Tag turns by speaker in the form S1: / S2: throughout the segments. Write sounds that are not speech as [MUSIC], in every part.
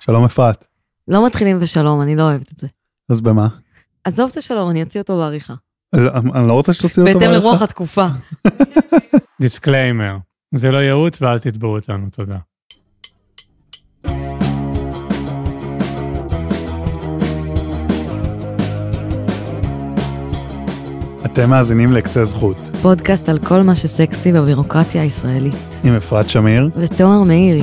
S1: שלום אפרת.
S2: לא מתחילים בשלום, אני לא אוהבת את זה.
S1: אז במה?
S2: עזוב את השלום, אני אוציא אותו בעריכה.
S1: לא, אני לא רוצה שתוציא אותו
S2: בהתאם
S1: בעריכה.
S2: לרוח התקופה.
S3: דיסקליימר, זה לא ייעוץ ואל תתבעו אותנו, תודה.
S1: אתם מאזינים לקצה זכות,
S2: פודקאסט על כל מה שסקסי בבירוקרטיה הישראלית.
S1: עם אפרת שמיר.
S2: ותומר מאירי,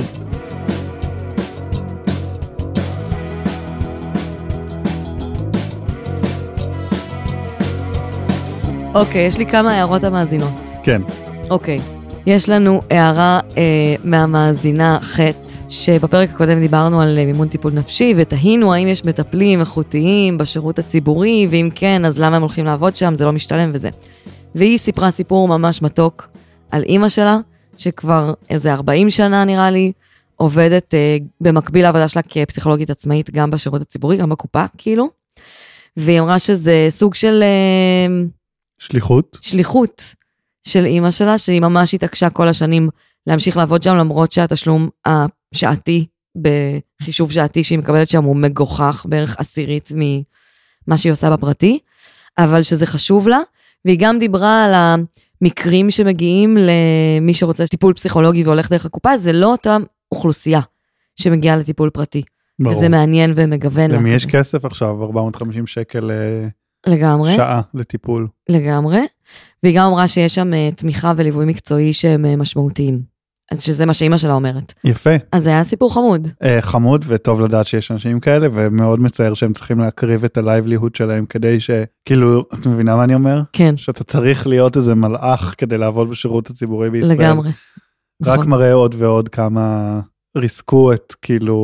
S2: אוקיי, יש לי כמה הערות המאזינות.
S1: כן,
S2: אוקיי. יש לנו הערה אה, מהמאזינה ח', שבפרק הקודם דיברנו על אה, מימון טיפול נפשי, ותהינו האם יש מטפלים איכותיים בשירות הציבורי, ואם כן, אז למה הם הולכים לעבוד שם, זה לא משתלם וזה. והיא סיפרה סיפור ממש מתוק על אימא שלה, שכבר איזה 40 שנה נראה לי, עובדת אה, במקביל לעבודה שלה כפסיכולוגית עצמאית, גם בשירות הציבורי, גם בקופה, כאילו. והיא אמרה שזה סוג של... אה,
S1: שליחות.
S2: שליחות של אימא שלה, שהיא ממש התעקשה כל השנים להמשיך לעבוד שם, למרות שהתשלום השעתי, בחישוב שעתי שהיא מקבלת שם, הוא מגוחך, בערך עשירית ממה שהיא עושה בפרטי, אבל שזה חשוב לה. והיא גם דיברה על המקרים שמגיעים למי שרוצה טיפול פסיכולוגי והולך דרך הקופה, זה לא אותה אוכלוסייה שמגיעה לטיפול פרטי.
S1: ברור.
S2: וזה מעניין ומגוון. לה
S1: למי יש
S2: כזה.
S1: כסף עכשיו? 450 שקל אה,
S2: לגמרי.
S1: שעה לטיפול.
S2: לגמרי, והיא גם אמרה שיש שם אה, תמיכה וליווי מקצועי שהם אה, משמעותיים. אז שזה מה שאימא שלה אומרת.
S1: יפה,
S2: אז זה היה סיפור חמוד.
S1: אה, חמוד וטוב לדעת שיש אנשים כאלה, ומאוד מצער שהם צריכים להקריב את הלייבליהוד שלהם כדי ש... כאילו, את מבינה מה אני אומר?
S2: כן,
S1: שאתה צריך להיות איזה מלאך כדי לעבוד בשירות הציבורי בישראל.
S2: לגמרי.
S1: רק
S2: נכון.
S1: מראה עוד ועוד כמה ריסקו את כאילו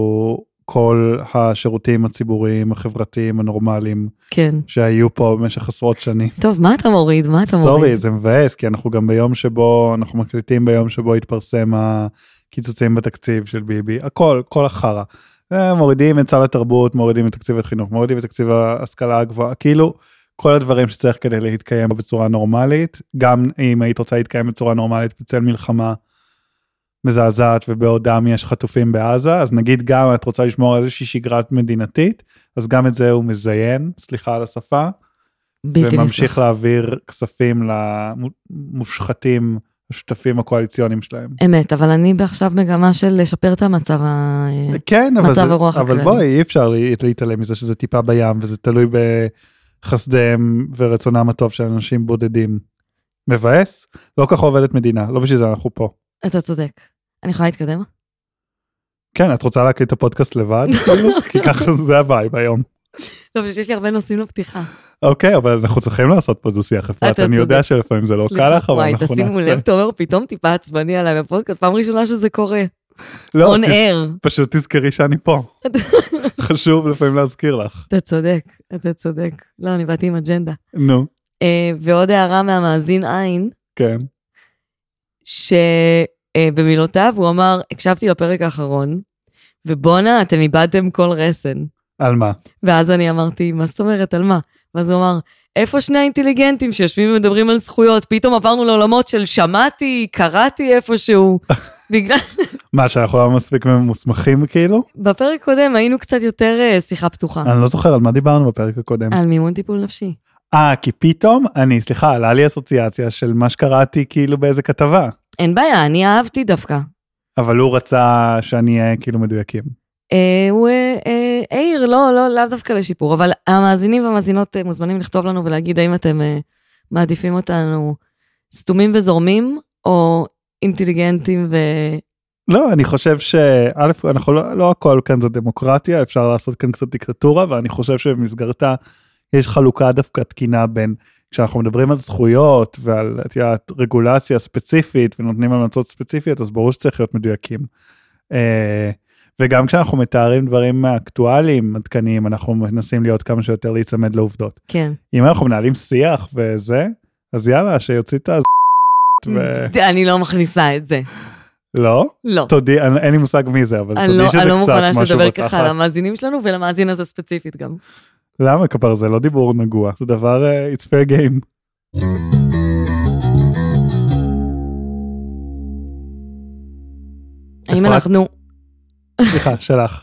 S1: כל השירותים הציבוריים החברתיים הנורמליים
S2: כן.
S1: שהיו פה במשך עשרות שנים.
S2: טוב, מה אתה מוריד? מה אתה מוריד?
S1: סורי זה מבאס כי אנחנו גם ביום שבו אנחנו מקליטים ביום שבו התפרסם הקיצוצים בתקציב של ביבי הכל כל החרא. אה, מורידים את סל התרבות מורידים את תקציב החינוך מורידים את תקציב ההשכלה הגבוהה כאילו כל הדברים שצריך כדי להתקיים בצורה נורמלית גם אם היית רוצה להתקיים בצורה נורמלית בצל מלחמה. מזעזעת ובעודם יש חטופים בעזה אז נגיד גם את רוצה לשמור על איזושהי שגרת מדינתית אז גם את זה הוא מזיין סליחה על השפה
S2: בלתי נסלח.
S1: וממשיך להעביר כספים למושחתים השותפים הקואליציוניים שלהם.
S2: אמת, אבל אני עכשיו מגמה של לשפר את המצב ה... אה,
S1: כן, אבל,
S2: מצב
S1: זה,
S2: הרוח
S1: אבל
S2: הכללי.
S1: בואי, אי אפשר לה- להתעלם מזה שזה טיפה בים וזה תלוי בחסדיהם ורצונם הטוב של אנשים בודדים. מבאס? לא ככה עובדת מדינה, לא בשביל זה אנחנו פה.
S2: אתה צודק. אני
S1: [LAUGHS]
S2: יכולה להתקדם?
S1: כן, את רוצה להקליט את הפודקאסט לבד?
S2: [LAUGHS]
S1: כאילו? כי ככה זה הווייב היום.
S2: טוב, יש לי הרבה נושאים לפתיחה.
S1: אוקיי, אבל אנחנו צריכים לעשות פה דו-שיח, אפרת.
S2: אתה
S1: אני יודע
S2: צודק.
S1: שלפעמים זה לא קל
S2: סליחה,
S1: לך, אבל אנחנו
S2: וואי, תשימו
S1: נעשה.
S2: לב, תומר פתאום טיפה עצבני עליי בפודקאסט, פעם ראשונה שזה קורה.
S1: לא,
S2: און
S1: תס-
S2: אר.
S1: פשוט תזכרי שאני פה. חשוב לפעמים להזכיר לך.
S2: אתה צודק, אתה צודק. לא, אני באתי עם אג'נדה.
S1: נו,
S2: אה, ועוד הערה מהמאזין עין,
S1: כן.
S2: שבמילותיו הוא אמר, הקשבתי לפרק האחרון, ובואנה, אתם איבדתם כל רסן.
S1: על מה?
S2: ואז אני אמרתי, מה זאת אומרת, על מה? ואז הוא אמר, איפה שני האינטליגנטים שיושבים ומדברים על זכויות? פתאום עברנו לעולמות של שמעתי, קראתי איפשהו. בגלל,
S1: מה, שאנחנו לא מספיק מוסמכים כאילו?
S2: בפרק קודם היינו קצת יותר אה, שיחה פתוחה,
S1: אני לא זוכר על מה דיברנו בפרק הקודם.
S2: על מימון טיפול נפשי.
S1: אה, כי פתאום, אני, סליחה, עלה לי אסוציאציה של מה שקראתי כאילו באיזה כתבה.
S2: אין בעיה, אני אהבתי דווקא.
S1: אבל הוא רצה שאני אהיה כאילו מדויקים.
S2: אה, הוא אה, אה, העיר, לא, לא, לאו דווקא לשיפור, אבל המאזינים והמאזינות אה, מוזמנים לכתוב לנו ולהגיד האם אתם אה, מעדיפים אותנו סתומים וזורמים, או אינטליגנטים ו...
S1: לא, אני חושב שא', אנחנו לא, לא הכל כאן זה דמוקרטיה, אפשר לעשות כאן קצת דיקטטורה, ואני חושב שבמסגרתה יש חלוקה דווקא תקינה בין, כשאנחנו מדברים על זכויות ועל, את יודעת, רגולציה ספציפית ונותנים המלצות ספציפיות, אז ברור שצריך להיות מדויקים. אה, וגם כשאנחנו מתארים דברים אקטואליים, עדכניים, אנחנו מנסים להיות כמה שיותר להיצמד לעובדות.
S2: כן.
S1: אם אנחנו מנהלים שיח וזה, אז יאללה, שיוציא את ה... ו...
S2: זה- [LAUGHS] אני לא מכניסה את זה.
S1: לא?
S2: לא.
S1: תודי, אני- אין לי מושג מי זה, אבל
S2: אני לא,
S1: תודי שזה קצת משהו
S2: אני לא מוכנה שתדבר
S1: בתחת.
S2: ככה למאזינים שלנו ולמאזין הזה ספציפית גם.
S1: למה כבר זה לא דיבור נגוע, זה דבר, אה, it's fair game.
S2: האם
S1: אפרת?
S2: אנחנו... [LAUGHS]
S1: סליחה, שלך.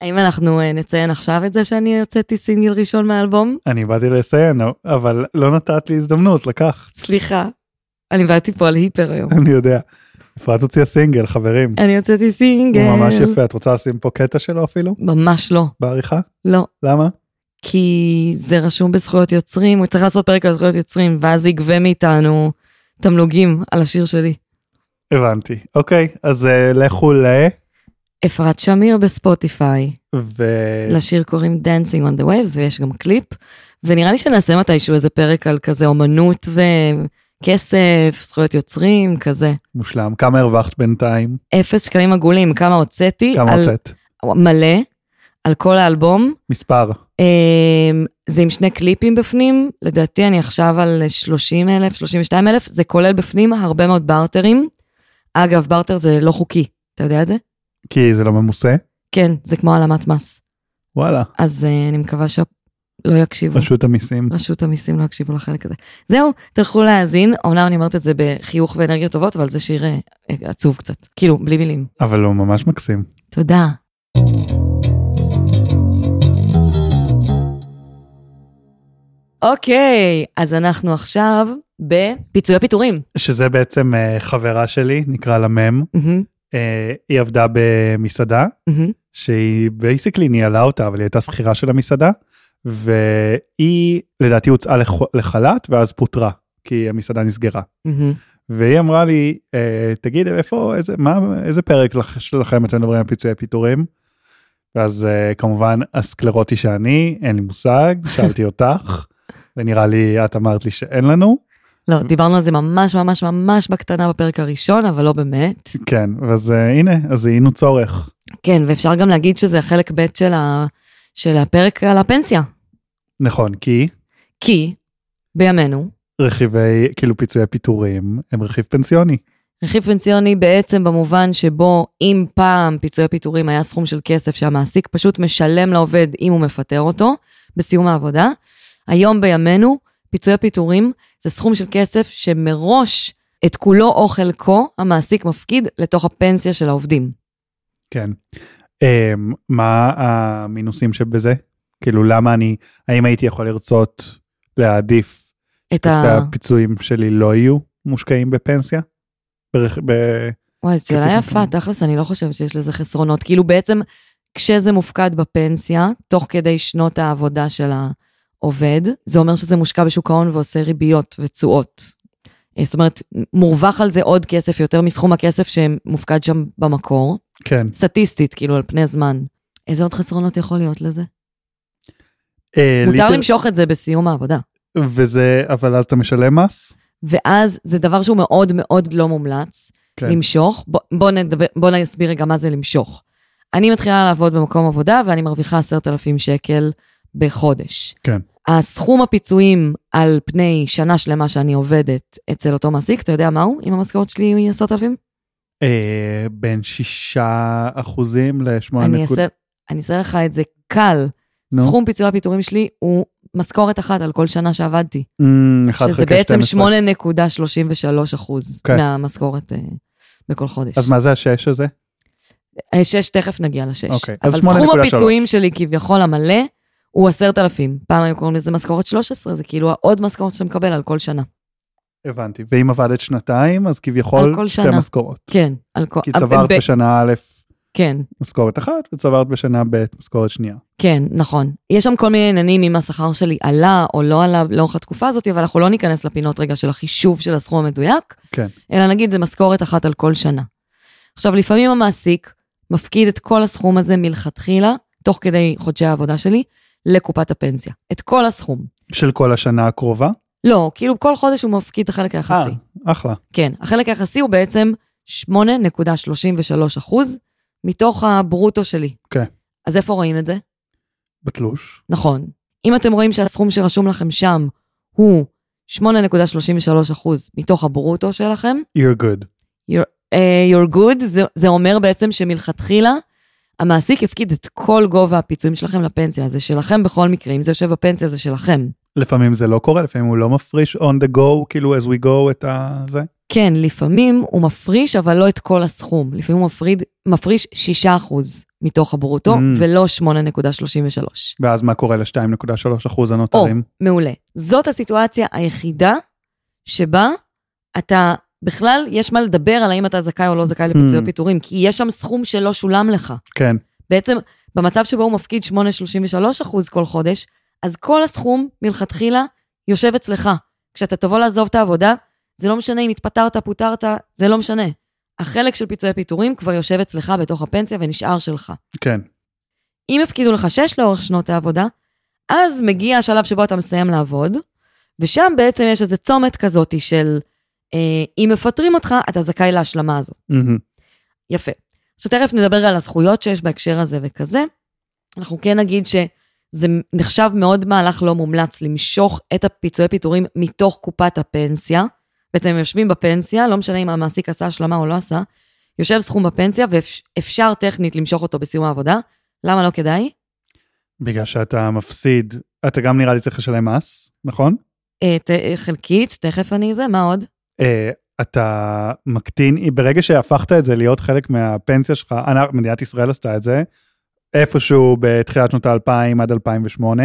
S2: האם אנחנו אה, נציין עכשיו את זה שאני הוצאתי סינגל ראשון מהאלבום?
S1: אני באתי לסיים, אבל לא נתת לי הזדמנות, לקח,
S2: סליחה, אני באתי פה על היפר היום.
S1: אני יודע. אפרת הוציאה סינגל, חברים.
S2: אני הוצאתי סינגל.
S1: אה. הוא ממש יפה, את רוצה לשים פה קטע שלו אפילו?
S2: ממש לא,
S1: בעריכה?
S2: לא.
S1: למה?
S2: כי זה רשום בזכויות יוצרים, הוא צריך לעשות פרק על זכויות יוצרים, ואז יגבה מאיתנו תמלוגים על השיר שלי.
S1: הבנתי. אוקיי, אז אה, לכו ל...
S2: אפרת שמיר בספוטיפיי,
S1: ו...
S2: לשיר קוראים Dancing on the Waves, ויש גם קליפ, ונראה לי שנעשה מתישהו איזה פרק על כזה אומנות וכסף, זכויות יוצרים, כזה.
S1: מושלם. כמה הרווחת בינתיים?
S2: אפס שקלים עגולים, כמה הוצאתי,
S1: כמה
S2: על...
S1: הוצאת?
S2: מלא, על כל האלבום.
S1: מספר.
S2: אמ, זה עם שני קליפים בפנים, לדעתי אני עכשיו על 30 אלף, 32 אלף, זה כולל בפנים הרבה מאוד בארטרים. אגב, בארטר זה לא חוקי, אתה יודע את זה?
S1: כי זה לא ממוסה?
S2: כן, זה כמו העלמת מס.
S1: וואלה,
S2: [LAUGHS] אז אה, אני מקווה שלא יקשיבו.
S1: רשות המיסים.
S2: רשות המיסים לא יקשיבו לחלק הזה. זהו, תלכו להאזין, אמנם אני אומרת את זה בחיוך ואנרגיות טובות, אבל זה שיר אה, עצוב קצת. כאילו, בלי מילים.
S1: אבל הוא ממש מקסים.
S2: תודה. אוקיי, אז אנחנו עכשיו בפיצויי פיטורים.
S1: שזה בעצם אה, חברה שלי, נקרא לה מם.
S2: מהמם,
S1: אה, היא עבדה במסעדה,
S2: מהמם,
S1: שהיא בייסיקלי ניהלה אותה, אבל היא הייתה שכירה של המסעדה, והיא לדעתי הוצאה לח- לחל"ת ואז פוטרה, כי המסעדה נסגרה.
S2: מהמם.
S1: והיא אמרה לי, אה, תגיד, איפה, איזה, מה, איזה פרק לכ- שלכם אתם מדברים על פיצויי פיטורים? ואז אה, כמובן הסקלרוטי שאני, אין לי מושג, שאלתי אותך, ונראה לי, את אמרת לי שאין לנו.
S2: לא, דיברנו על זה ממש ממש ממש בקטנה בפרק הראשון, אבל לא באמת.
S1: כן, אז אה, הנה, אז זיהינו צורך.
S2: כן, ואפשר גם להגיד שזה חלק ב' של, ה... של הפרק על הפנסיה.
S1: נכון, כי
S2: כי בימינו,
S1: רכיבי, כאילו פיצויי פיטורים הם רכיב פנסיוני.
S2: רכיב פנסיוני בעצם במובן שבו אם פעם פיצויי פיטורים היה סכום של כסף שהמעסיק פשוט משלם לעובד אם הוא מפטר אותו בסיום העבודה, היום בימינו פיצויי פיטורים זה סכום של כסף שמראש את כולו או חלקו המעסיק מפקיד לתוך הפנסיה של העובדים.
S1: כן. אה, מה המינוסים שבזה? כאילו, למה אני, האם הייתי יכול לרצות להעדיף
S2: את
S1: כספי
S2: ה...
S1: הפיצויים שלי לא יהיו מושקעים בפנסיה? ברכ- ב-
S2: וואי, זו שאלה
S1: כפי
S2: יפה,
S1: שאתה-
S2: תכלס, אני לא חושבת שיש לזה חסרונות. כאילו בעצם, כשזה מופקד בפנסיה, תוך כדי שנות העבודה של העובד, זה אומר שזה מושקע בשוק ההון ועושה ריביות ותשואות. אה, זאת אומרת, מורווח על זה עוד כסף, יותר מסכום הכסף שמופקד שם במקור,
S1: כן.
S2: סטטיסטית, כאילו, על פני הזמן. איזה עוד חסרונות יכול להיות לזה?
S1: אה,
S2: מותר
S1: ליטר-
S2: למשוך את זה בסיום העבודה.
S1: וזה, אבל אז אתה משלם מס?
S2: ואז זה דבר שהוא מאוד מאוד לא מומלץ.
S1: כן.
S2: למשוך, בוא, בוא, נדבר, בוא נסביר רגע מה זה למשוך. אני מתחילה לעבוד במקום עבודה ואני מרוויחה 10,000 שקל בחודש.
S1: כן.
S2: הסכום הפיצויים על פני שנה שלמה שאני עובדת אצל אותו מעסיק, אתה יודע מה הוא? אם המשכורת שלי היא 10,000?
S1: אה, בין 6 אחוזים ל-8
S2: אני אעשה- אני אעשה לך את זה קל.
S1: נו.
S2: סכום פיצוי הפיטורים שלי הוא משכורת אחת על כל שנה שעבדתי.
S1: אמ,
S2: שזה בעצם 8.33 אחוז
S1: כן.
S2: מהמשכורת אה, בכל חודש.
S1: אז מה זה השש הזה?
S2: אה, שש, תכף נגיע לשש.
S1: אוקיי,
S2: אבל
S1: אז
S2: סכום
S1: 8.3.
S2: הפיצויים שלי כביכול המלא הוא עשרת אלפים. פעם היו קוראים לזה משכורת 13, זה כאילו העוד משכורת שאתה מקבל על כל שנה.
S1: הבנתי. ואם עבדת שנתיים, אז כביכול
S2: על כל
S1: שתי
S2: שנה.
S1: משכורות.
S2: כן, על כל...
S1: כי צברת
S2: ב-
S1: בשנה א'
S2: כן,
S1: משכורת אחת, וצברת בשנה ב' משכורת שנייה.
S2: כן, נכון. יש שם כל מיני עניינים אם השכר שלי עלה או לא עלה לאורך התקופה הזאת, אבל אנחנו לא ניכנס לפינות רגע של החישוב של הסכום המדויק,
S1: כן.
S2: אלא נגיד זה משכורת אחת על כל שנה. עכשיו, לפעמים המעסיק מפקיד את כל הסכום הזה מלכתחילה, תוך כדי חודשי העבודה שלי, לקופת הפנסיה. את כל הסכום.
S1: של כל השנה הקרובה?
S2: לא, כאילו כל חודש הוא מפקיד את החלק היחסי.
S1: אה, אחלה.
S2: כן, החלק היחסי הוא בעצם 8.33 אחוז מתוך הברוטו שלי.
S1: כן.
S2: אז איפה רואים את זה?
S1: בתלוש.
S2: נכון. אם אתם רואים שהסכום שרשום לכם שם הוא 8.33 אחוז מתוך הברוטו שלכם,
S1: You're good.
S2: uh, you're good, זה, זה אומר בעצם שמלכתחילה המעסיק יפקיד את כל גובה הפיצויים שלכם לפנסיה, זה שלכם בכל מקרה, אם זה יושב בפנסיה זה שלכם.
S1: לפעמים זה לא קורה, לפעמים הוא לא מפריש on the go, כאילו as we go את ה... זה.
S2: כן, לפעמים הוא מפריש, אבל לא את כל הסכום. לפעמים הוא מפריד, מפריש 6% מתוך הברוטו,
S1: Mm.
S2: ולא 8.33.
S1: ואז מה קורה ל-2.3 אחוז
S2: או,
S1: הנותרים?
S2: מעולה. זאת הסיטואציה היחידה שבה אתה, בכלל יש מה לדבר על האם אתה זכאי או לא זכאי לפיצוי
S1: Mm.
S2: הפיטורים, כי יש שם סכום שלא שולם לך.
S1: כן.
S2: בעצם, במצב שבו הוא מפקיד 8.33 אחוז כל חודש, אז כל הסכום מלכתחילה יושב אצלך. כשאתה תבוא לעזוב את העבודה, זה לא משנה אם התפטרת, פוטרת, זה לא משנה. החלק של פיצויי פיטורים כבר יושב אצלך בתוך הפנסיה ונשאר שלך.
S1: כן.
S2: אם הפקידו לך שש לאורך שנות העבודה, אז מגיע השלב שבו אתה מסיים לעבוד, ושם בעצם יש איזה צומת כזאת של אה, אם מפטרים אותך, אתה זכאי להשלמה הזאת.
S1: מהמם.
S2: יפה. עכשיו תכף נדבר על הזכויות שיש בהקשר הזה וכזה. אנחנו כן נגיד שזה נחשב מאוד מהלך לא מומלץ למשוך את הפיצויי פיטורים מתוך קופת הפנסיה. בעצם הם יושבים בפנסיה, לא משנה אם המעסיק עשה השלמה או לא עשה, יושב סכום בפנסיה ואפשר טכנית למשוך אותו בסיום העבודה. למה לא כדאי?
S1: בגלל שאתה מפסיד, אתה גם נראה לי צריך לשלם מס, נכון?
S2: אה, ת, אה, חלקית, תכף אני זה, מה עוד?
S1: אה, אתה מקטין, ברגע שהפכת את זה להיות חלק מהפנסיה שלך, אנ- מדינת ישראל עשתה את זה, איפשהו בתחילת שנות האלפיים עד 2008,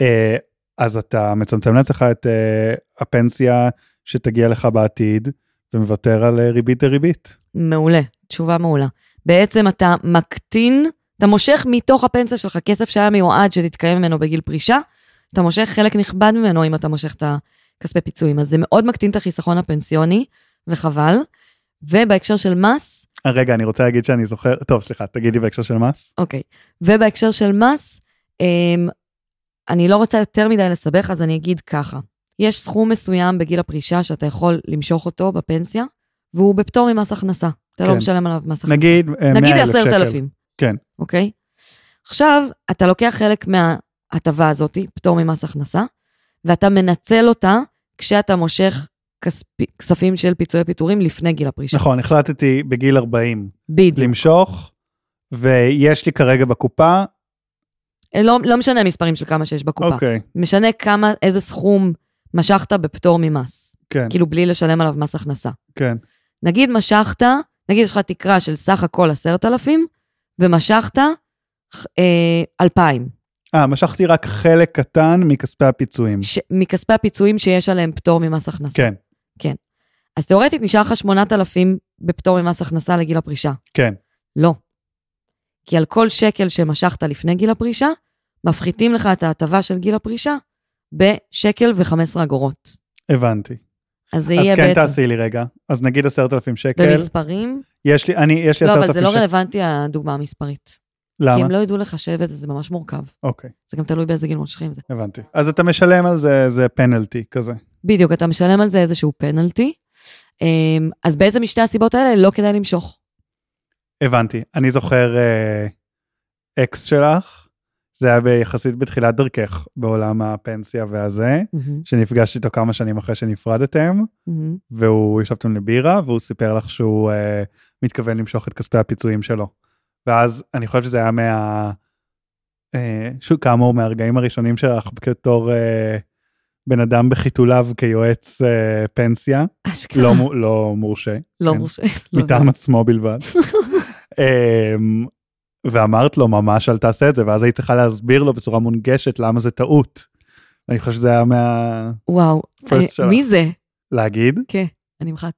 S1: אה, אז אתה מצמצם לעצמך את אה, הפנסיה שתגיע לך בעתיד, ומוותר על אה, ריבית דריבית.
S2: מעולה, תשובה מעולה. בעצם אתה מקטין, אתה מושך מתוך הפנסיה שלך כסף שהיה מיועד שתתקיים ממנו בגיל פרישה, אתה מושך חלק נכבד ממנו אם אתה מושך את הכספי פיצויים. אז זה מאוד מקטין את החיסכון הפנסיוני, וחבל. ובהקשר של מס,
S1: אה, רגע, אני רוצה להגיד שאני זוכר, טוב, סליחה, תגידי בהקשר של מס.
S2: אוקיי, ובהקשר של מס, אמ, אני לא רוצה יותר מדי לסבך, אז אני אגיד ככה. יש סכום מסוים בגיל הפרישה שאתה יכול למשוך אותו בפנסיה, והוא בפטור ממס הכנסה. אתה לא
S1: כן.
S2: משלם עליו מס הכנסה.
S1: נגיד, אה, 100,000
S2: נגיד
S1: שקל.
S2: 10,000.
S1: כן.
S2: אוקיי? עכשיו, אתה לוקח חלק מההטבה הזאת, פטור ממס הכנסה, ואתה מנצל אותה כשאתה מושך כספי, כספים של פיצויי פיטורים לפני גיל הפרישה.
S1: נכון, החלטתי בגיל 40
S2: בדיוק.
S1: למשוך, ויש לי כרגע בקופה,
S2: לא, לא משנה מספרים של כמה שיש בקופה.
S1: אוקיי,
S2: משנה כמה, איזה סכום משכת בפטור ממס.
S1: כן,
S2: כאילו בלי לשלם עליו מס הכנסה.
S1: כן.
S2: נגיד משכת, נגיד יש לך תקרה של סך הכל 10,000, ומשכת אה, 2,000.
S1: אה, משכתי רק חלק קטן מכספי הפיצויים.
S2: ש... מכספי הפיצויים שיש עליהם פטור ממס הכנסה.
S1: כן,
S2: אז תאורטית נשאר לך 8,000 בפטור ממס הכנסה לגיל הפרישה.
S1: כן.
S2: לא. כי על כל שקל שמשכת לפני גיל הפרישה, מפחיתים לך את ההטבה של גיל הפרישה בשקל ו-15 אגורות.
S1: הבנתי.
S2: אז זה
S1: אז
S2: יהיה
S1: כן
S2: בעצם...
S1: תעשי לי רגע. אז נגיד עשרת אלפים שקל,
S2: במספרים,
S1: יש לי, אני, יש לי
S2: לא,
S1: עשרת
S2: אבל זה
S1: אלפים
S2: לא
S1: שקל.
S2: רלוונטי הדוגמה המספרית. כי
S1: למה?
S2: הם לא ידעו לחשב את זה, זה ממש מורכב.
S1: אוקיי,
S2: זה גם תלוי באיזה גיל מושכים את זה.
S1: הבנתי. אז אתה משלם על זה, זה פנלטי כזה.
S2: בדיוק, אתה משלם על זה איזשהו פנלטי. אמ, אז בעצם משתי הסיבות האלה לא כדאי למשוך.
S1: הבנתי. אני זוכר אה, אקס שלך, זה היה ביחסית בתחילת דרכך בעולם הפנסיה והזה,
S2: מהמם,
S1: שנפגשתי איתו כמה שנים אחרי שנפרדתם,
S2: מהמם.
S1: והוא ישבתם לבירה והוא סיפר לך שהוא אה, מתכוון למשוך את כספי הפיצויים שלו. ואז אני חושב שזה היה מה... אה, שוב כאמור מהרגעים הראשונים שלך בתור אה, בן אדם בחיתוליו כיועץ אה, פנסיה
S2: אשכרה.
S1: לא, מו- לא מורשה
S2: לא
S1: כן.
S2: מורשה. כן. לא
S1: מטעם
S2: יודעת.
S1: עצמו
S2: [LAUGHS]
S1: בלבד. אה, ואמרת לו ממש אל תעשה את זה ואז היית צריכה להסביר לו בצורה מונגשת למה זה טעות. אני חושב שזה היה מה...
S2: לא. וואו,
S1: first
S2: אני-
S1: שלך.
S2: מי זה?
S1: להגיד
S2: כן, אני אמחק.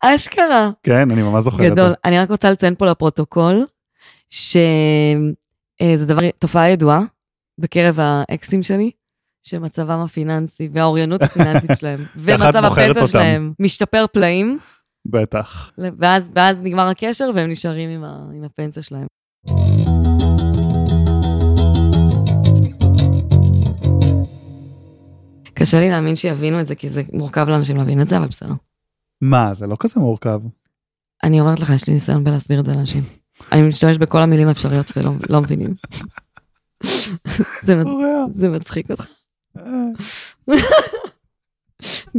S2: אשכרה.
S1: כן אני ממש זוכר את זה.
S2: גדול. אני רק רוצה לציין פה לפרוטוקול, שזה דבר, תופעה ידועה בקרב האקסים שלי, שמצבם הפיננסי והאוריינות הפיננסית
S1: [LAUGHS]
S2: שלהם, ומצב
S1: בוחרת
S2: הפנסיה
S1: אותם.
S2: שלהם משתפר פלאים,
S1: בטח.
S2: ואז, ואז נגמר הקשר והם נשארים עם, ה, עם הפנסיה שלהם. קשה לי להאמין שיבינו את זה, כי זה מורכב לאנשים להבין את זה, אבל בסדר.
S1: מה, זה לא כזה מורכב.
S2: אני אומרת לך, יש לי ניסיון בלהסביר את זה לאנשים. אני משתמש בכל המילים האפשריות ולא לא מבינים. [LAUGHS] זה, מצ- זה מצחיק אותך.
S1: אה.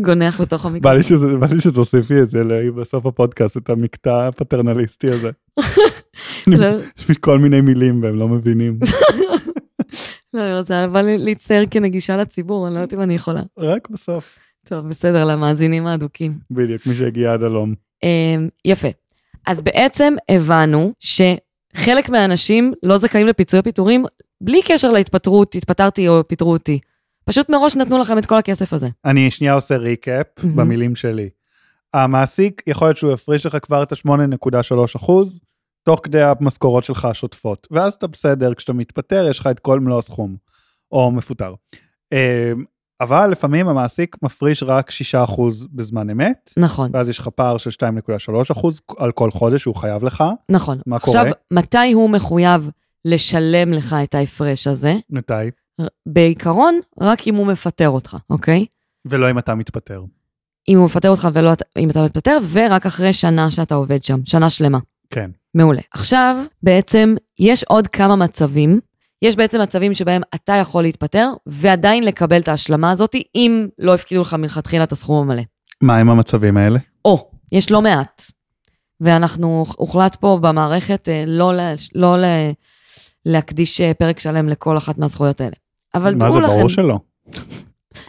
S2: גונח לתוך
S1: בא
S2: המיקרופון.
S1: לי שזה- בא לי שתוסיפי את זה ל- בסוף הפודקאסט, את המקטע הפטרנליסטי הזה.
S2: לא,
S1: [LAUGHS] יש לי כל מיני מילים והם לא מבינים.
S2: לא, אני רוצה אבל להצטער כנגישה לציבור, אני לא יודעת אם אני יכולה.
S1: רק בסוף.
S2: טוב, בסדר, למאזינים האדוקים.
S1: בדיוק, מי שהגיע עד הלום.
S2: אמ, יפה. אז בעצם הבנו שחלק מהאנשים לא זכאים לפיצויי פיטורים בלי קשר להתפטרות, התפטרתי או פיטרו אותי. פשוט מראש נתנו לכם את כל הכסף הזה.
S1: אני שנייה עושה ריקאפ
S2: מהמם.
S1: במילים שלי. המעסיק, יכול להיות שהוא יפריש לך כבר את ה-8.3 אחוז, תוך כדי המשכורות שלך השוטפות, ואז אתה בסדר, כשאתה מתפטר יש לך את כל מלוא הסכום, או מפוטר. אמ, אבל לפעמים המעסיק מפריש רק 6 אחוז בזמן אמת,
S2: נכון,
S1: ואז יש לך פער של 2.3 אחוז על כל חודש שהוא חייב לך,
S2: נכון.
S1: מה
S2: עכשיו,
S1: קורה?
S2: מתי הוא מחויב לשלם לך את ההפרש הזה?
S1: מתי?
S2: ר- בעיקרון, רק אם הוא מפטר אותך, אוקיי?
S1: ולא אם אתה מתפטר.
S2: אם הוא מפטר אותך ולא אתה- אם אתה מתפטר, ורק אחרי שנה שאתה עובד שם, שנה שלמה.
S1: כן.
S2: מעולה. עכשיו, בעצם, יש עוד כמה מצבים. יש בעצם מצבים שבהם אתה יכול להתפטר, ועדיין לקבל את ההשלמה הזאת, אם לא הפקידו לך מלכתחילה את הסכום המלא.
S1: מה עם המצבים האלה?
S2: או, יש לא מעט. ואנחנו, הוחלט פה במערכת אה, לא, ל- לא ל, להקדיש אה, פרק שלם לכל אחת מהזכויות האלה. אבל
S1: מה
S2: דעו
S1: זה,
S2: לכם,
S1: ברור
S2: [LAUGHS]
S1: שלא.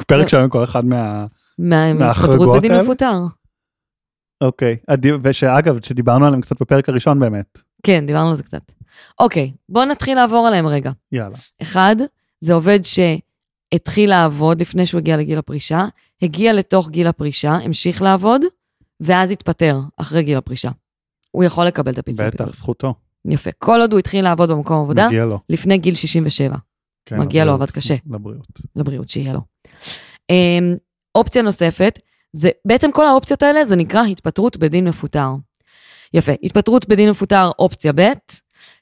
S1: פרק שלנו כל אחד מה...
S2: מההתפטרות
S1: מההחרגות
S2: בדין
S1: האלה?
S2: מפוטר.
S1: אוקיי, הדי- ושאגב, שדיברנו עליהם קצת בפרק הראשון באמת.
S2: כן, דיברנו על זה קצת. אוקיי, בואו נתחיל לעבור עליהם רגע.
S1: יאללה.
S2: אחד, זה עובד שהתחיל לעבוד לפני שהוא הגיע לגיל הפרישה, הגיע לתוך גיל הפרישה, המשיך לעבוד, ואז התפטר אחרי גיל הפרישה. הוא יכול לקבל את הפיצוי.
S1: בטח,
S2: פיטורים.
S1: זכותו.
S2: יפה. כל עוד הוא התחיל לעבוד במקום עבודה,
S1: מגיע לו.
S2: לפני גיל 67.
S1: כן,
S2: מגיע לו,
S1: לבריאות.
S2: עבד קשה.
S1: לבריאות.
S2: לבריאות שיהיה לו. אמ, אופציה נוספת, זה בעצם כל האופציות האלה זה נקרא התפטרות בדין מפוטר. יפה, התפטרות בדין מפוטר אופציה ב',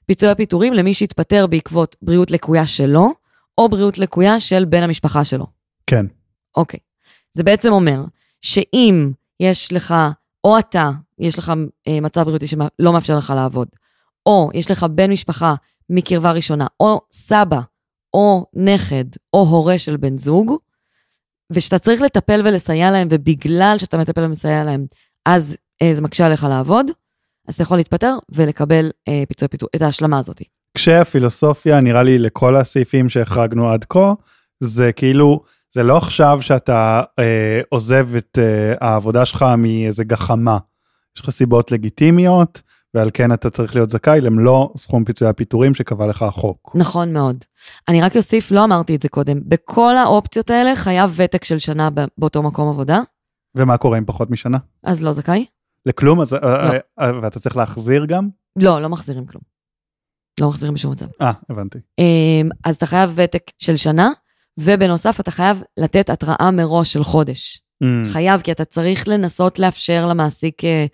S2: פיצוי הפיטורים למי שהתפטר בעקבות בריאות לקויה שלו, או בריאות לקויה של בן המשפחה שלו.
S1: כן.
S2: אוקיי. זה בעצם אומר שאם יש לך, או אתה, יש לך אה, מצב בריאותי שלא מאפשר לך לעבוד, או יש לך בן משפחה מקרבה ראשונה, או סבא, או נכד, או הורה של בן זוג, ושאתה צריך לטפל ולסייע להם, ובגלל שאתה מטפל ומסייע להם, אז אה, זה מקשה עליך לעבוד, אז אתה יכול להתפטר ולקבל אה, פיצוי פיתוח, את ההשלמה הזאת.
S1: כשהפילוסופיה, נראה לי, לכל הסעיפים שהחרגנו עד כה, זה כאילו, זה לא עכשיו שאתה אה, עוזב את אה, העבודה שלך מאיזה גחמה. יש לך סיבות לגיטימיות, ועל כן אתה צריך להיות זכאי למלוא סכום פיצויי הפיטורים שקבע לך החוק.
S2: נכון מאוד. אני רק אוסיף, לא אמרתי את זה קודם, בכל האופציות האלה חייב ותק של שנה ב- באותו מקום עבודה,
S1: ומה קורה עם פחות משנה?
S2: אז לא זכאי?
S1: לכלום? אז, אה, אה, אה, ואתה צריך להחזיר גם?
S2: לא, לא מחזירים כלום. לא מחזירים בשום מצב.
S1: אה, הבנתי.
S2: אמ, אז אתה חייב ותק של שנה, ובנוסף אתה חייב לתת התראה מראש של חודש.
S1: Mm.
S2: חייב, כי אתה צריך לנסות לאפשר למעסיק אה,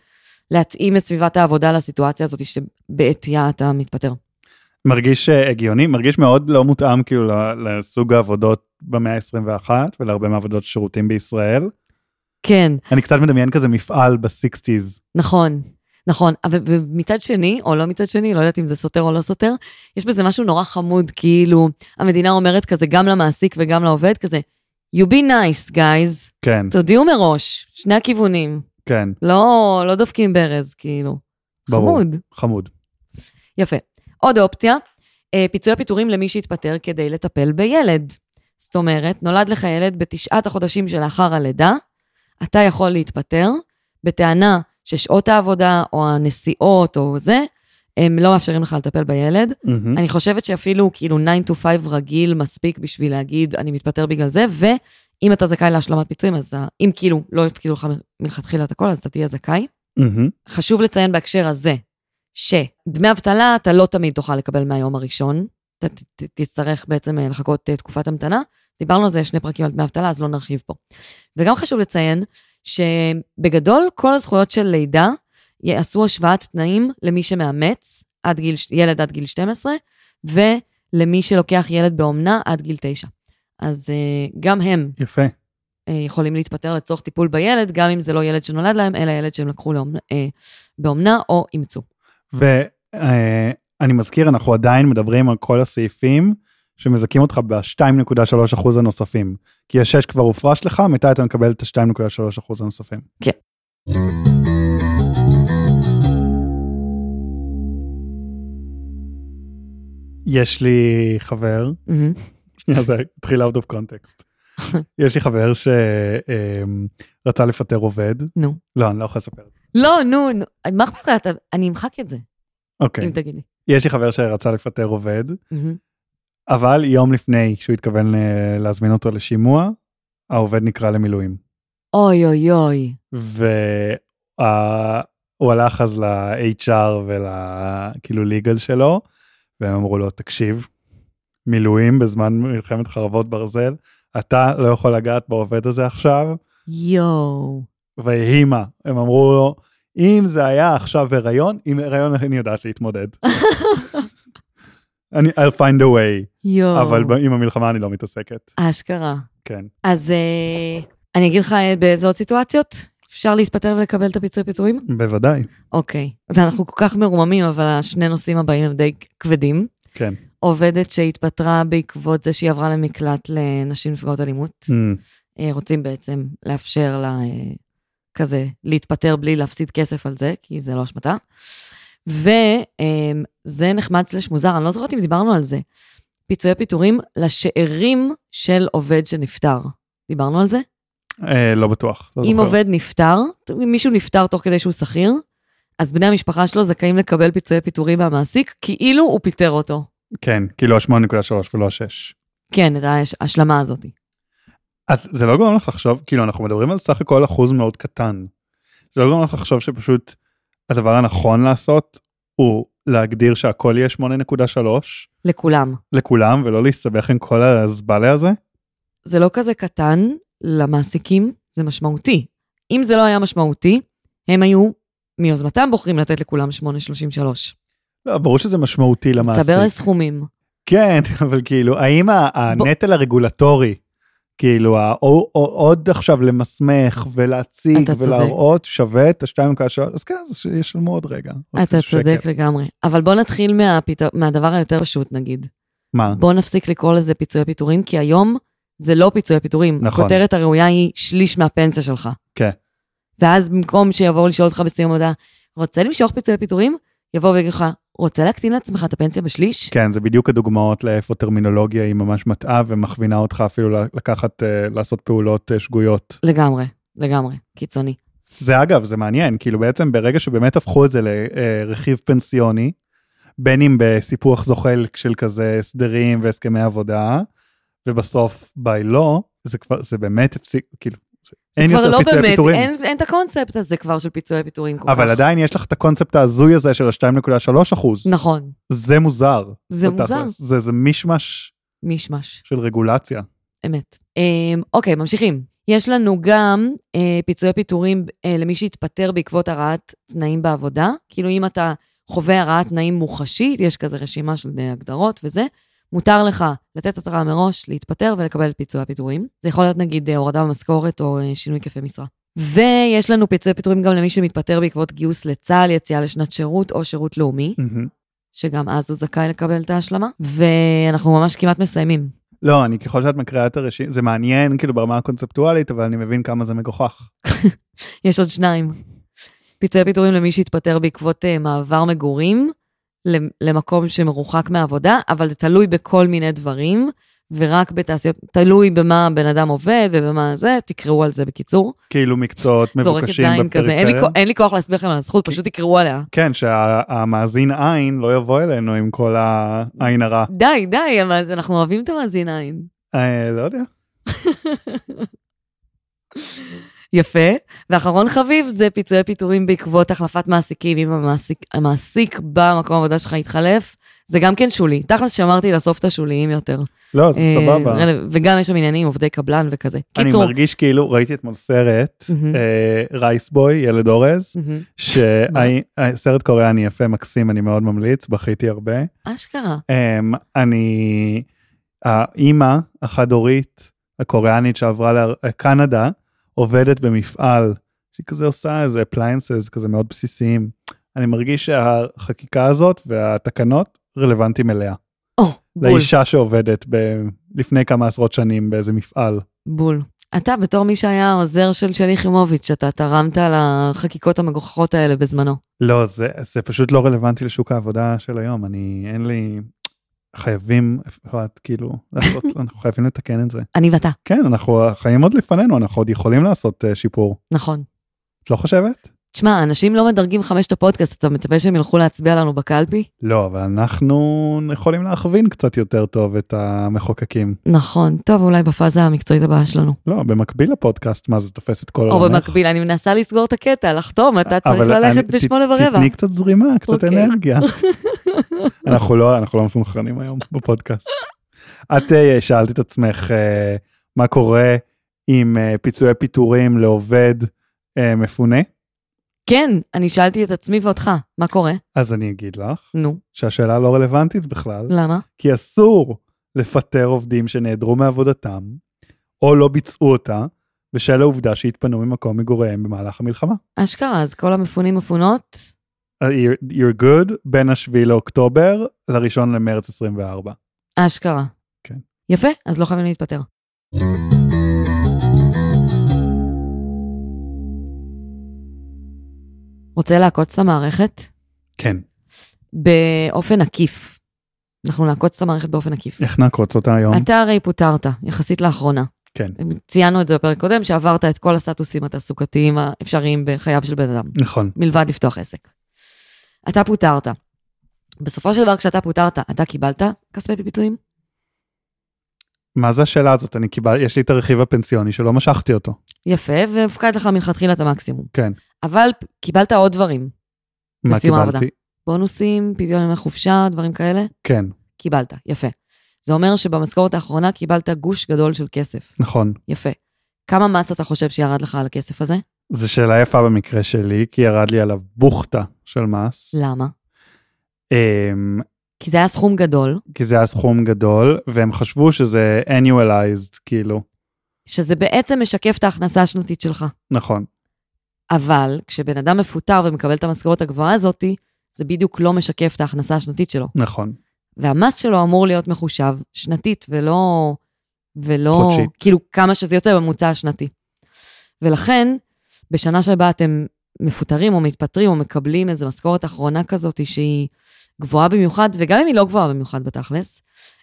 S2: להתאים את סביבת העבודה לסיטואציה הזאת שבעטייה אתה מתפטר.
S1: מרגיש אה, הגיוני, מרגיש מאוד לא מותאם כאילו ל- לסוג העבודות במאה ה-21 ולהרבה מעבודות שירותים בישראל.
S2: כן,
S1: אני קצת מדמיין כזה מפעל בסיקסטיז.
S2: נכון, נכון. אבל מצד שני, או לא מצד שני, לא יודעת אם זה סותר או לא סותר, יש בזה משהו נורא חמוד, כאילו, המדינה אומרת כזה גם למעסיק וגם לעובד, כזה, you be nice, guys,
S1: כן,
S2: תודיעו מראש, שני הכיוונים,
S1: כן,
S2: לא, לא דופקים ברז, כאילו.
S1: ברור.
S2: חמוד.
S1: חמוד.
S2: יפה. עוד אופציה, אה, פיצוי הפיטורים למי שהתפטר כדי לטפל בילד. זאת אומרת, נולד לך ילד בתשעת החודשים שלאחר הלידה, אתה יכול להתפטר בטענה ששעות העבודה או הנסיעות או זה, הם לא מאפשרים לך לטפל בילד.
S1: מהמם.
S2: אני חושבת שאפילו כאילו 9 to 5 רגיל מספיק בשביל להגיד, אני מתפטר בגלל זה, ואם אתה זכאי להשלמת פיצויים, אז אתה, אם כאילו לא יפקידו לך מ- מלכתחילה את הכל, אז אתה תהיה זכאי.
S1: מהמם.
S2: חשוב לציין בהקשר הזה, שדמי אבטלה אתה לא תמיד תוכל לקבל מהיום הראשון, אתה ת- ת- תצטרך בעצם אה, לחכות אה, תקופת המתנה. דיברנו על זה שני פרקים על דמי אבטלה, אז לא נרחיב פה. וגם חשוב לציין שבגדול כל הזכויות של לידה יעשו השוואת תנאים למי שמאמץ עד גיל, ילד עד גיל 12, ולמי שלוקח ילד באומנה עד גיל 9. אז אה, גם הם
S1: יפה.
S2: אה, יכולים להתפטר לצורך טיפול בילד, גם אם זה לא ילד שנולד להם, אלא ילד שהם לקחו לאומנה, אה, באומנה או אימצו.
S1: ואני אה, מזכיר, אנחנו עדיין מדברים על כל הסעיפים שמזכים אותך ב-2.3 אחוז הנוספים. כי ה-6 כבר הופרש לך, מתי אתה מקבל את ה-2.3 אחוז הנוספים.
S2: כן.
S1: יש לי חבר
S2: מהמם.
S1: שנייה, זה התחיל out of
S2: [LAUGHS]
S1: context. יש לי חבר שרצה אמ, לפטר עובד,
S2: נו,
S1: לא, אני לא יכול לספר.
S2: לא, נו, נו, מה אכפת לך? אתה- אני אמחק את זה,
S1: אוקיי.
S2: אם תגיד לי.
S1: יש לי חבר שרצה לפטר עובד,
S2: מהמם.
S1: אבל יום לפני שהוא התכוון אה, להזמין אותו לשימוע, העובד נקרא למילואים.
S2: אוי אוי אוי.
S1: והוא הלך אז ל-HR ולכאילו כאילו, legal שלו, והם אמרו לו, תקשיב, מילואים בזמן מלחמת חרבות ברזל, אתה לא יכול לגעת בעובד הזה עכשיו,
S2: יואו.
S1: ויהי מה. הם אמרו לו, אם זה היה עכשיו הריון, עם הריון אני יודעת להתמודד. אני, I'll find a way,
S2: יואו.
S1: אבל ב- עם המלחמה אני לא מתעסקת,
S2: אשכרה.
S1: כן.
S2: אז אה, אני אגיד לך אה, באיזה עוד סיטואציות אפשר להתפטר ולקבל את הפיצוי פיטורים?
S1: בוודאי,
S2: אוקיי. אז אנחנו כל כך מרוממים, אבל השני נושאים הבאים הם די כבדים.
S1: כן.
S2: עובדת שהתפטרה בעקבות זה שהיא עברה למקלט לנשים נפגעות אלימות.
S1: Mm,
S2: אה, רוצים בעצם לאפשר לה אה, כזה להתפטר בלי להפסיד כסף על זה, כי זה לא אשמתה. וזה נחמד סלש מוזר, אני לא זוכרת אם דיברנו על זה. פיצויי פיטורים לשאירים של עובד שנפטר. דיברנו על זה?
S1: אה, לא בטוח, לא
S2: אם
S1: זוכר.
S2: עובד נפטר, אם מישהו נפטר תוך כדי שהוא שכיר, אז בני המשפחה שלו זכאים לקבל פיצויי פיטורים מהמעסיק, כאילו הוא פיטר אותו.
S1: כן, כאילו ה-8.3 ולא ה-6.
S2: כן, את ההשלמה הזאת.
S1: אז זה לא גורם לך לחשוב כאילו אנחנו מדברים על סך הכל אחוז מאוד קטן. זה לא גורם לך לחשוב שפשוט הדבר הנכון לעשות הוא להגדיר שהכל יהיה 8.3
S2: לכולם.
S1: לכולם ולא להסתבך עם כל הזבלה הזה.
S2: זה לא כזה קטן למעסיקים, זה משמעותי. אם זה לא היה משמעותי, הם היו מיוזמתם בוחרים לתת לכולם 833.
S1: לא, ברור שזה משמעותי למעסיק.
S2: מצטבר לסכומים.
S1: כן, [LAUGHS] אבל כאילו האם ה- הנטל הרגולטורי, כאילו ה- או- או- עוד עכשיו למסמך ולהציג
S2: אתה צודק.
S1: ולהראות שווה את ה-2.3 אז כן, אז ישלמו עוד רגע. עוד
S2: אתה
S1: שקל.
S2: צודק לגמרי. אבל בוא נתחיל מהפית- מהדבר היותר פשוט, נגיד.
S1: מה?
S2: בוא נפסיק לקרוא לזה פיצויי פיטורים, כי היום זה לא פיצויי פיטורים.
S1: נכון.
S2: הכותרת הראויה היא שליש מהפנסיה שלך.
S1: כן.
S2: ואז במקום שיבואו לשאול אותך בסיום הודעה, רוצה למשוך פיצויי פיטורים? יבואו ויגידו לך, רוצה להקטין לעצמך את הפנסיה בשליש?
S1: כן, זה בדיוק הדוגמאות לאיפה טרמינולוגיה היא ממש מטעה ומכווינה אותך אפילו לקחת, אה, לעשות פעולות אה, שגויות.
S2: לגמרי, לגמרי, קיצוני.
S1: זה אגב, זה מעניין, כאילו בעצם ברגע שבאמת הפכו את זה לרכיב פנסיוני, בין אם בסיפוח זוחל של כזה הסדרים והסכמי עבודה, ובסוף by law, זה כבר, זה באמת הפסיק, כאילו,
S2: זה
S1: אין
S2: כבר
S1: יותר
S2: לא
S1: פיצויי
S2: באמת,
S1: פיטורים.
S2: אין, אין את הקונספט הזה כבר של פיצויי פיטורים כל
S1: אבל
S2: כך.
S1: עדיין יש לך את הקונספט ההזוי הזה של ה-2.3 אחוז,
S2: נכון,
S1: זה מוזר.
S2: זה
S1: בתכלס.
S2: מוזר.
S1: זה, זה מישמש
S2: מישמש,
S1: של רגולציה.
S2: אמת. אה, אוקיי, ממשיכים. יש לנו גם אה, פיצויי פיטורים אה, למי שהתפטר בעקבות הרעת תנאים בעבודה. כאילו אם אתה חווה הרעת תנאים מוחשית, יש כזה רשימה של אה, הגדרות וזה, מותר לך לתת התראה מראש, להתפטר ולקבל את פיצויי הפיטורים. זה יכול להיות נגיד אה, הורדה במשכורת או אה, שינוי היקפי משרה. ויש לנו פיצויי פיטורים גם למי שמתפטר בעקבות גיוס לצה"ל, יציאה לשנת שירות או שירות לאומי.
S1: מהמם.
S2: שגם אז הוא זכאי לקבל את ההשלמה, ואנחנו ממש כמעט מסיימים.
S1: לא, אני ככל שאת מקריאה את הרשימה, זה מעניין כאילו ברמה הקונספטואלית, אבל אני מבין כמה זה מגוחך.
S2: יש עוד שניים. פיצויי פיטורים למי שהתפטר בעקבות אה, מעבר מגורים למ- למקום שמרוחק מהעבודה, אבל זה תלוי בכל מיני דברים, ורק בתעשיות, תלוי במה הבן אדם עובד ובמה זה, תקראו על זה בקיצור.
S1: כאילו מקצועות
S2: זורקת
S1: מבוקשים
S2: זין כזה, אין לי,
S1: בפריפריה.
S2: כו- אין לי כוח להסביר לכם על הזכות, פשוט תקראו עליה.
S1: כן, שהמאזין עין לא יבוא אלינו עם כל העין הרע.
S2: די, די, אבל אנחנו אוהבים את המאזין עין.
S1: אה, לא יודע.
S2: יפה. ואחרון חביב זה פיצויי פיטורים בעקבות החלפת מעסיקים. אם המעסיק, המעסיק במקום העבודה שלך התחלף, זה גם כן שולי. תכלס שאמרתי לאסוף את השוליים יותר.
S1: לא, זה
S2: אה,
S1: סבבה.
S2: רלו- וגם יש שם עניינים, עובדי קבלן וכזה.
S1: אני
S2: קיצור,
S1: מרגיש כאילו, ראיתי אתמול סרט,
S2: מהמם.
S1: אה, רייסבוי, ילד אורז,
S2: מהמם.
S1: שסרט קוריאני יפה, מקסים, אני מאוד ממליץ, בכיתי הרבה. [LAUGHS]
S2: אשכרה.
S1: אמ, אני, האימא החד-הורית הקוריאנית שעברה לקנדה, עובדת במפעל, שהיא כזה עושה איזה אפליינסס כזה מאוד בסיסיים. אני מרגיש שהחקיקה הזאת והתקנות רלוונטיים אליה.
S2: או, בול,
S1: לאישה שעובדת ב- לפני כמה עשרות שנים באיזה מפעל.
S2: בול. אתה, בתור מי שהיה העוזר של שלי יחימוביץ', אתה תרמת על החקיקות המגוחכות האלה בזמנו.
S1: לא, זה, זה פשוט לא רלוונטי לשוק העבודה של היום, אני, אין לי... חייבים, אפרת, כאילו, [LAUGHS] לעשות, אנחנו חייבים לתקן את זה.
S2: אני ואתה,
S1: כן, אנחנו, החיים עוד לפנינו, אנחנו עוד יכולים לעשות אה, שיפור.
S2: נכון.
S1: את לא חושבת?
S2: תשמע, אנשים לא מדרגים חמש את הפודקאסט, אתה מצפה שהם ילכו להצביע לנו בקלפי?
S1: לא, אבל אנחנו יכולים להכווין קצת יותר טוב את המחוקקים.
S2: נכון, טוב, אולי בפאזה המקצועית הבאה שלנו.
S1: לא, במקביל לפודקאסט, מה זה תופס את כל
S2: או
S1: העולם?
S2: במקביל, אני מנסה לסגור את הקטע, לחתום, אתה צריך
S1: לא, אבל
S2: ללכת
S1: אני-
S2: בשמונה
S1: ת-
S2: ורבע.
S1: תתני קצת זרימה, קצת
S2: אוקיי. [LAUGHS]
S1: אנרגיה. אנחנו לא, אנחנו לא מסונכרנים היום בפודקאסט. את אה, שאלת את עצמך אה, מה קורה עם אה, פיצויי פיטורים לעובד אה, מפונה,
S2: כן, אני שאלתי את עצמי ואותך, מה קורה?
S1: אז אני אגיד לך
S2: נו,
S1: שהשאלה לא רלוונטית בכלל,
S2: למה?
S1: כי אסור לפטר עובדים שנעדרו מעבודתם או לא ביצעו אותה בשל העובדה שהתפנו ממקום מגוריהם במהלך המלחמה.
S2: אשכרה, אז כל המפונים מפונות?
S1: אה, you're- you're good בין השביעי לאוקטובר לראשון למרץ 24.
S2: אשכרה.
S1: כן.
S2: יפה, אז לא חייבים להתפטר. רוצה לעקוץ את המערכת?
S1: כן.
S2: באופן עקיף. אנחנו נעקוץ את המערכת באופן עקיף.
S1: איך נעקוץ אותה היום?
S2: אתה הרי פוטרת, יחסית לאחרונה.
S1: כן.
S2: ציינו את זה בפרק קודם, שעברת את כל הסטטוסים התעסוקתיים האפשריים בחייו של בן אדם,
S1: נכון.
S2: מלבד לפתוח עסק. אתה פוטרת. בסופו של דבר, כשאתה פוטרת, אתה קיבלת כספי פיצויים?
S1: מה זה השאלה הזאת? אני קיבל, יש לי את הרכיב הפנסיוני שלא משכתי אותו.
S2: יפה, והפקד לך מלכתחילה את המקסימום.
S1: כן.
S2: אבל פ- קיבלת עוד דברים,
S1: מה
S2: בסיום העבודה.
S1: קיבלתי?
S2: בונוסים, פדיון ימי חופשה, דברים כאלה,
S1: כן,
S2: קיבלת, יפה. זה אומר שבמשכורת האחרונה קיבלת גוש גדול של כסף,
S1: נכון.
S2: יפה. כמה מס אתה חושב שירד לך על הכסף הזה?
S1: זו שאלה יפה במקרה שלי, כי ירד לי עליו בוכטה של מס.
S2: למה?
S1: אמ,
S2: כי זה היה סכום גדול,
S1: כי זה היה סכום גדול, והם חשבו שזה annualized, כאילו.
S2: שזה בעצם משקף את ההכנסה השנתית שלך.
S1: נכון.
S2: אבל כשבן אדם מפוטר ומקבל את המשכורת הגבוהה הזאתי, זה בדיוק לא משקף את ההכנסה השנתית שלו.
S1: נכון.
S2: והמס שלו אמור להיות מחושב שנתית ולא... ולא...
S1: חודשית.
S2: כאילו, כמה שזה יוצא בממוצע השנתי. ולכן, בשנה שבה אתם מפוטרים או מתפטרים או מקבלים איזו משכורת אחרונה כזאת שהיא גבוהה במיוחד, וגם אם היא לא גבוהה במיוחד בתכלס,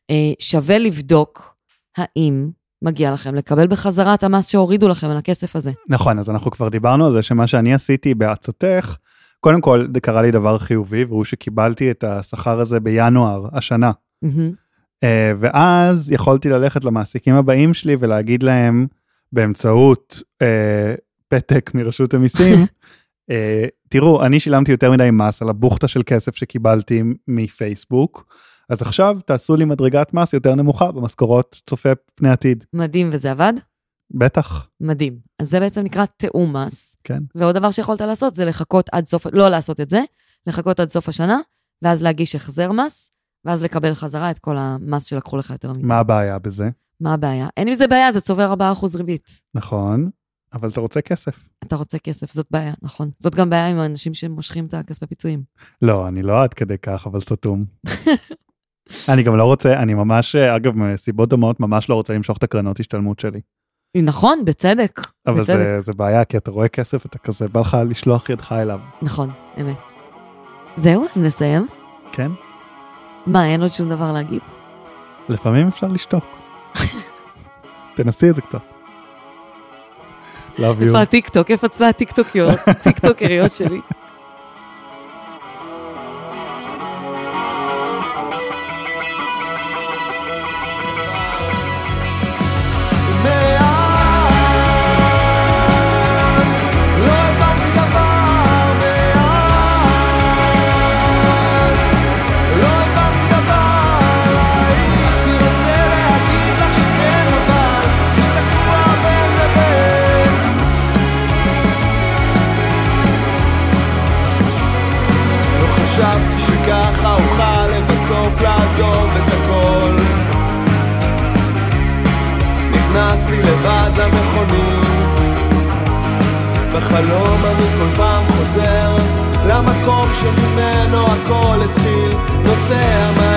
S2: אה, שווה לבדוק האם מגיע לכם לקבל בחזרה את המס שהורידו לכם על הכסף הזה.
S1: נכון, אז אנחנו כבר דיברנו על זה שמה שאני עשיתי בעצתך, קודם כל קרה לי דבר חיובי, והוא שקיבלתי את השכר הזה בינואר השנה.
S2: מהמם.
S1: אה, ואז יכולתי ללכת למעסיקים הבאים שלי ולהגיד להם באמצעות אה, פתק מרשות המיסים, אה, תראו, אני שילמתי יותר מדי מס על הבוכטה של כסף שקיבלתי מפייסבוק, אז עכשיו תעשו לי מדרגת מס יותר נמוכה במשכורות צופה פני עתיד.
S2: מדהים, וזה עבד?
S1: בטח,
S2: מדהים. אז זה בעצם נקרא תיאום מס.
S1: כן.
S2: ועוד דבר שיכולת לעשות זה לחכות עד סוף, לא לעשות את זה, לחכות עד סוף השנה, ואז להגיש החזר מס, ואז לקבל חזרה את כל המס שלקחו לך יותר מדי.
S1: מה הבעיה בזה?
S2: מה הבעיה? אין עם זה בעיה, זה צובר 4% ריבית.
S1: נכון, אבל אתה רוצה כסף.
S2: אתה רוצה כסף, זאת בעיה, נכון. זאת גם בעיה עם האנשים שמושכים את הכספי פיצויים.
S1: לא, אני לא עד כדי כך, אבל סתום. אני גם לא רוצה, אני ממש, אה, אגב, מסיבות דומות, ממש לא רוצה למשוך את הקרנות השתלמות שלי.
S2: נכון, בצדק.
S1: אבל
S2: בצדק.
S1: זה, זה בעיה, כי אתה רואה כסף, אתה כזה, בא לך לשלוח ידך אליו.
S2: נכון, אמת. זהו, אז נסיים.
S1: כן?
S2: מה, אין עוד שום דבר להגיד?
S1: לפעמים אפשר לשתוק. תנסי את זה קצת. love
S2: איפה
S1: you.
S2: הטיקטוק? איפה עצמה הטיקטוקיות?
S1: [LAUGHS]
S2: טיקטוקריות שלי?
S4: מאז לא הבנתי דבר, מאז לא הבנתי דבר. הייתי רוצה להגיד לך שכן, אבל אני תקוע בין לבין. לא חשבתי שככה אוכל לבסוף לעזוב את הכל. נכנסתי לבד למכונית בחלום אני כל פעם חוזר למקום שממנו הכל התחיל נוסע מה לא לא